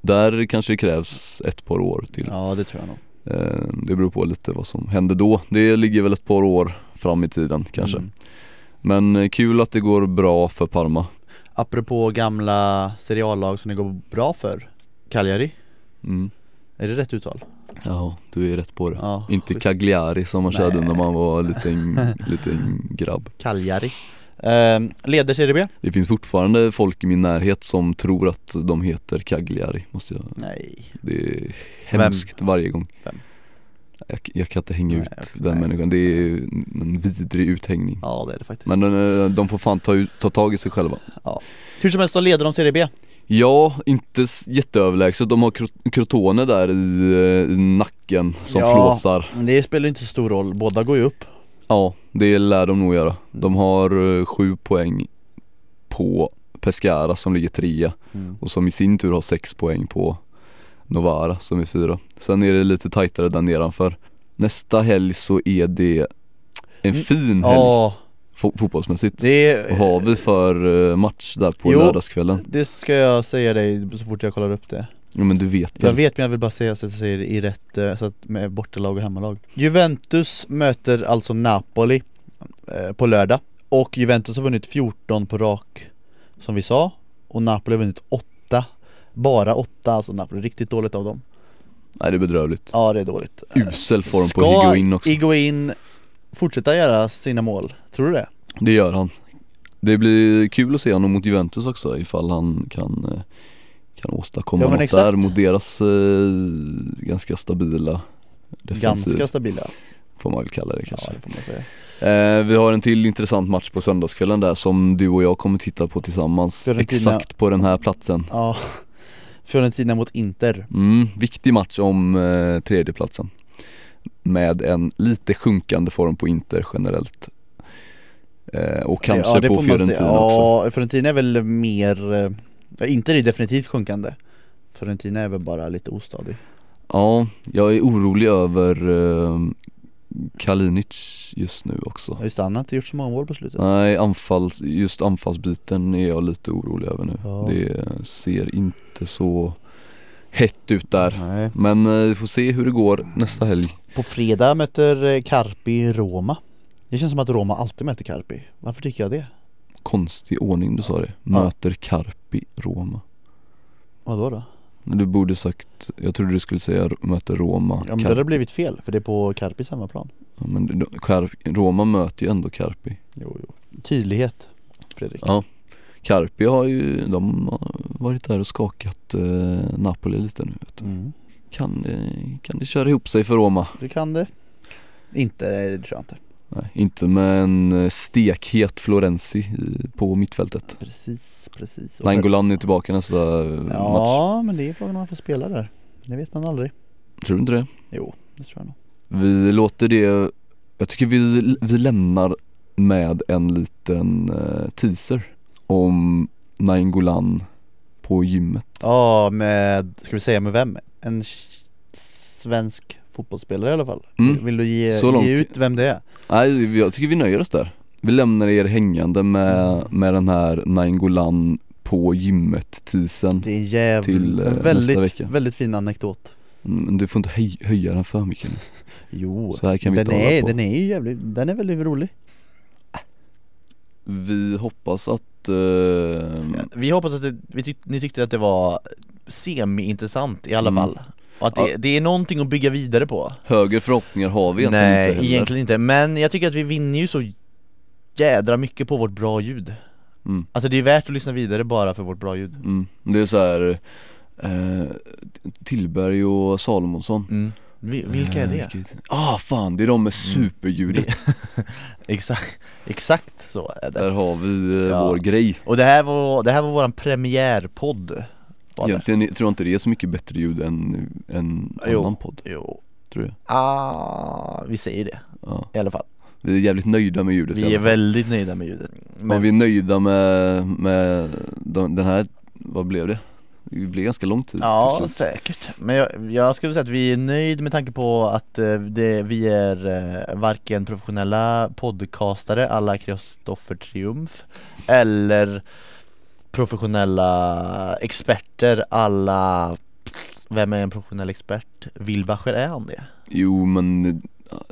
Där kanske det krävs ett par år till. Ja, det tror jag nog. Eh, Det beror på lite vad som händer då. Det ligger väl ett par år fram i tiden kanske. Mm. Men eh, kul att det går bra för Parma. Apropå gamla seriallag som det går bra för. Cagliari, Mm. är det rätt uttal? Ja, du är rätt på det. Ja, Inte schysst. Cagliari som man Nej. körde när man var en liten, liten grabb. Cagliari. Ehm, leder Serie B? Det finns fortfarande folk i min närhet som tror att de heter Cagliari. Måste jag. Nej. Det är hemskt varje gång. Vem? Jag, jag kan inte hänga Nej, ut jag- den nej. människan. Det är en vidrig uthängning. Ja, det är det faktiskt. Men eh, de får fan ta, ut, ta tag i sig själva. Hur som helst så leder de Serie B. Ja, inte s- jätteöverlägset. De har Cro- Crotone där i, eh, i nacken som Ja. flåsar. Men det spelar inte så stor roll, båda går ju upp. Ja, det lär de nog göra. De har eh, sju poäng på Pescara som ligger trea och som i sin tur har sex poäng på Novara som är fyra. Sen är det lite tajtare där nedanför. Nästa helg så är det en Mm. fin helg Ja, fo- fotbollsmässigt. det Vad har vi för eh, match där på Jo. lördagskvällen? Det ska jag säga dig så fort jag kollar upp det Ja men du vet Jag väl? vet men jag vill bara säga så att jag säger det i rätt, eh, så att med bortalag och hemmalag Juventus möter alltså Napoli eh, på lördag Och Juventus har vunnit 14 på rak Som vi sa Och Napoli har vunnit 8 Bara 8, alltså Napoli, riktigt dåligt av dem Nej det är bedrövligt. Ja det är dåligt Usel form på Eh, Ska Higuain också. Higuaín fortsätta göra sina mål? Tror du det? Det gör han. Det blir kul att se honom mot Juventus också ifall han kan, eh, kan åstadkomma Ja, men något exakt. där mot deras eh, ganska stabila defensiv Ganska stabila får man väl kalla det Ja kanske. det får man säga Eh, vi har en till intressant match på söndagskvällen där som du och jag kommer titta på tillsammans Fiorentina. exakt på den här platsen. Ja Fiorentina mot Inter Mm, viktig match om eh, tredjeplatsen med en lite sjunkande form på Inter generellt. Eh, och kanske det på får man säga. Fiorentina också. Ja, Fiorentina är väl mer, eh, ja, inte det är definitivt sjunkande Fiorentina är väl bara lite ostadig Ja, jag är orolig över eh, Kalinic just nu också. Ja, Just det, han har inte gjort så många mål på slutet Nej, anfalls, just anfallsbiten är jag lite orolig över nu. Ja. Det ser inte så hett ut där. Nej. Men eh, vi får se hur det går nästa helg. På fredag möter eh, Carpi Roma Det känns som att Roma alltid möter Carpi, varför tycker jag det? Konstig ordning du sa det. Möter Carpi Roma. Vadå då? Men Du borde sagt, jag trodde du skulle säga möter Roma. Ja men det Carpi. hade blivit fel, för det är på Carpis hemmaplan Ja, men det- Carpi- Roma möter ju ändå Carpi. Jo, jo Tydlighet Fredrik Ja. Carpi har ju, de har varit där och skakat eh, Napoli lite nu vet du. mm. Kan, det, kan det köra ihop sig för Roma? Du kan det Inte, nej, det tror jag inte Nej, inte med en eh, stekhet Florenzi i- på mittfältet. Precis, precis Och- Nangolan är tillbaka nästa eh, match. Ja, men det är frågan om han får spela där Det vet man aldrig Tror du inte det? Jo, det tror jag nog. Vi låter det, jag tycker vi, vi lämnar med en liten eh, teaser om Nangolan på gymmet. Ja, med, ska vi säga med vem? En s- svensk fotbollsspelare i alla fall. Mm. Vill du ge, Så långt. Mm. ge ut vem det är? Nej, jag tycker vi nöjer oss där. Vi lämnar er hängande med, med den här Nainggolan på gymmet tisen. Det är jävligt, Till, eh, en nästa väldigt, vecka. väldigt fin anekdot. Men Mm, du får inte höj, höja den för mycket nu. Jo, Så här kan vi den, inte hålla är, på. den är ju jävligt, den är väldigt rolig. Vi hoppas att eh, Mm. Vi hoppas att det, vi tyck, ni tyckte att det var semi-intressant i alla Mm. fall. Och att det, det är någonting att bygga vidare på. högre förhoppningar har vi egentligen Nej, inte heller. egentligen inte. Men jag tycker att vi vinner ju så jädra mycket på vårt bra ljud. Mm. Alltså det är värt att lyssna vidare bara för vårt bra ljud. Mm. Det är så här eh, Tillberg och Salomonsson Mm. Vi- Vilka är Eh, det? Mm, vilket- Ah fan, det är de med superljudet Exakt, exakt så är det Där har vi eh, Ja. vår grej Och det här var, det här var våran premiärpodd var det? Egentligen tror jag inte det är så mycket bättre ljud än en Jo. annan podd, Jo, tror jag ah, vi säger det ja. i alla fall Vi är jävligt nöjda med ljudet i alla Vi är fall. väldigt nöjda med ljudet Men Men vi är nöjda med, med de, den här, vad blev det? Det blev ganska lång tid Ja, till slut. säkert. Men jag, jag skulle säga att vi är nöjd med tanke på att eh, det, vi är eh, varken professionella podcastare alla Kristoffer Triumf eller professionella experter alla vem är en professionell expert? Wilbacher, är han det? Jo men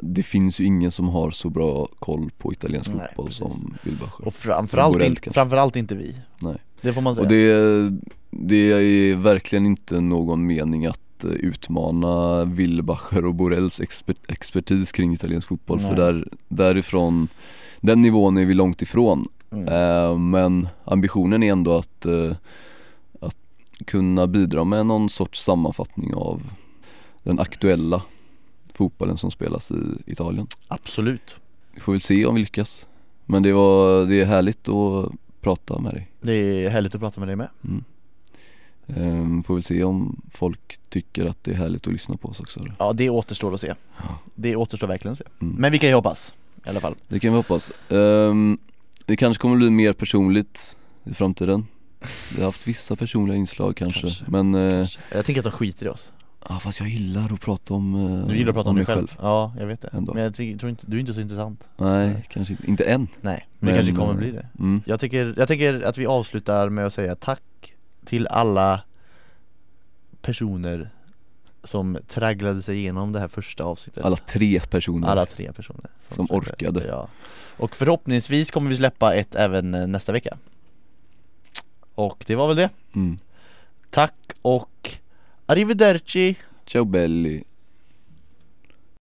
det finns ju ingen som har så bra koll på italiensk Nej, fotboll precis. som Wilbacher Och framförallt, Borrell in, kanske. framförallt inte vi Nej. Det får man säga Och det, det är verkligen inte någon mening att eh, utmana Wilbacher och Borrells exper, expertis kring italiensk fotboll Nej. för där, därifrån, den nivån är vi långt ifrån mm. Eh, Men ambitionen är ändå att, eh, att kunna bidra med någon sorts sammanfattning av den aktuella fotbollen som spelas i Italien. Absolut Vi får väl se om vi lyckas. Men det, var, det är härligt att prata med dig. Det är härligt att prata med dig med Mm. Eh, Får väl se om folk tycker att det är härligt att lyssna på oss också. eller? Ja, det återstår att se Ja. Det återstår verkligen att se Mm. Men vi kan ju hoppas i alla fall Det kan vi hoppas. Ehm, det kanske kommer bli mer personligt i framtiden. Vi har haft vissa personliga inslag kanske, Kanske. men eh, Jag tänker att de skiter i oss Ja fast jag gillar att prata om eh, Du gillar att prata om, dig mig själv. Ja, jag vet det Ändå. Men jag tycker, tror inte, du är inte så intressant Nej, kanske inte, inte än Nej, men, Men, det kanske kommer eh, bli det mm. jag tycker, jag tycker att vi avslutar med att säga tack till alla personer som tragglade sig igenom det här första avsnittet Alla tre personer Alla tre personer Som orkade. ja. Och förhoppningsvis kommer vi släppa ett även eh, nästa vecka Och det var väl det mm. Tack och arrivederci Ciao belli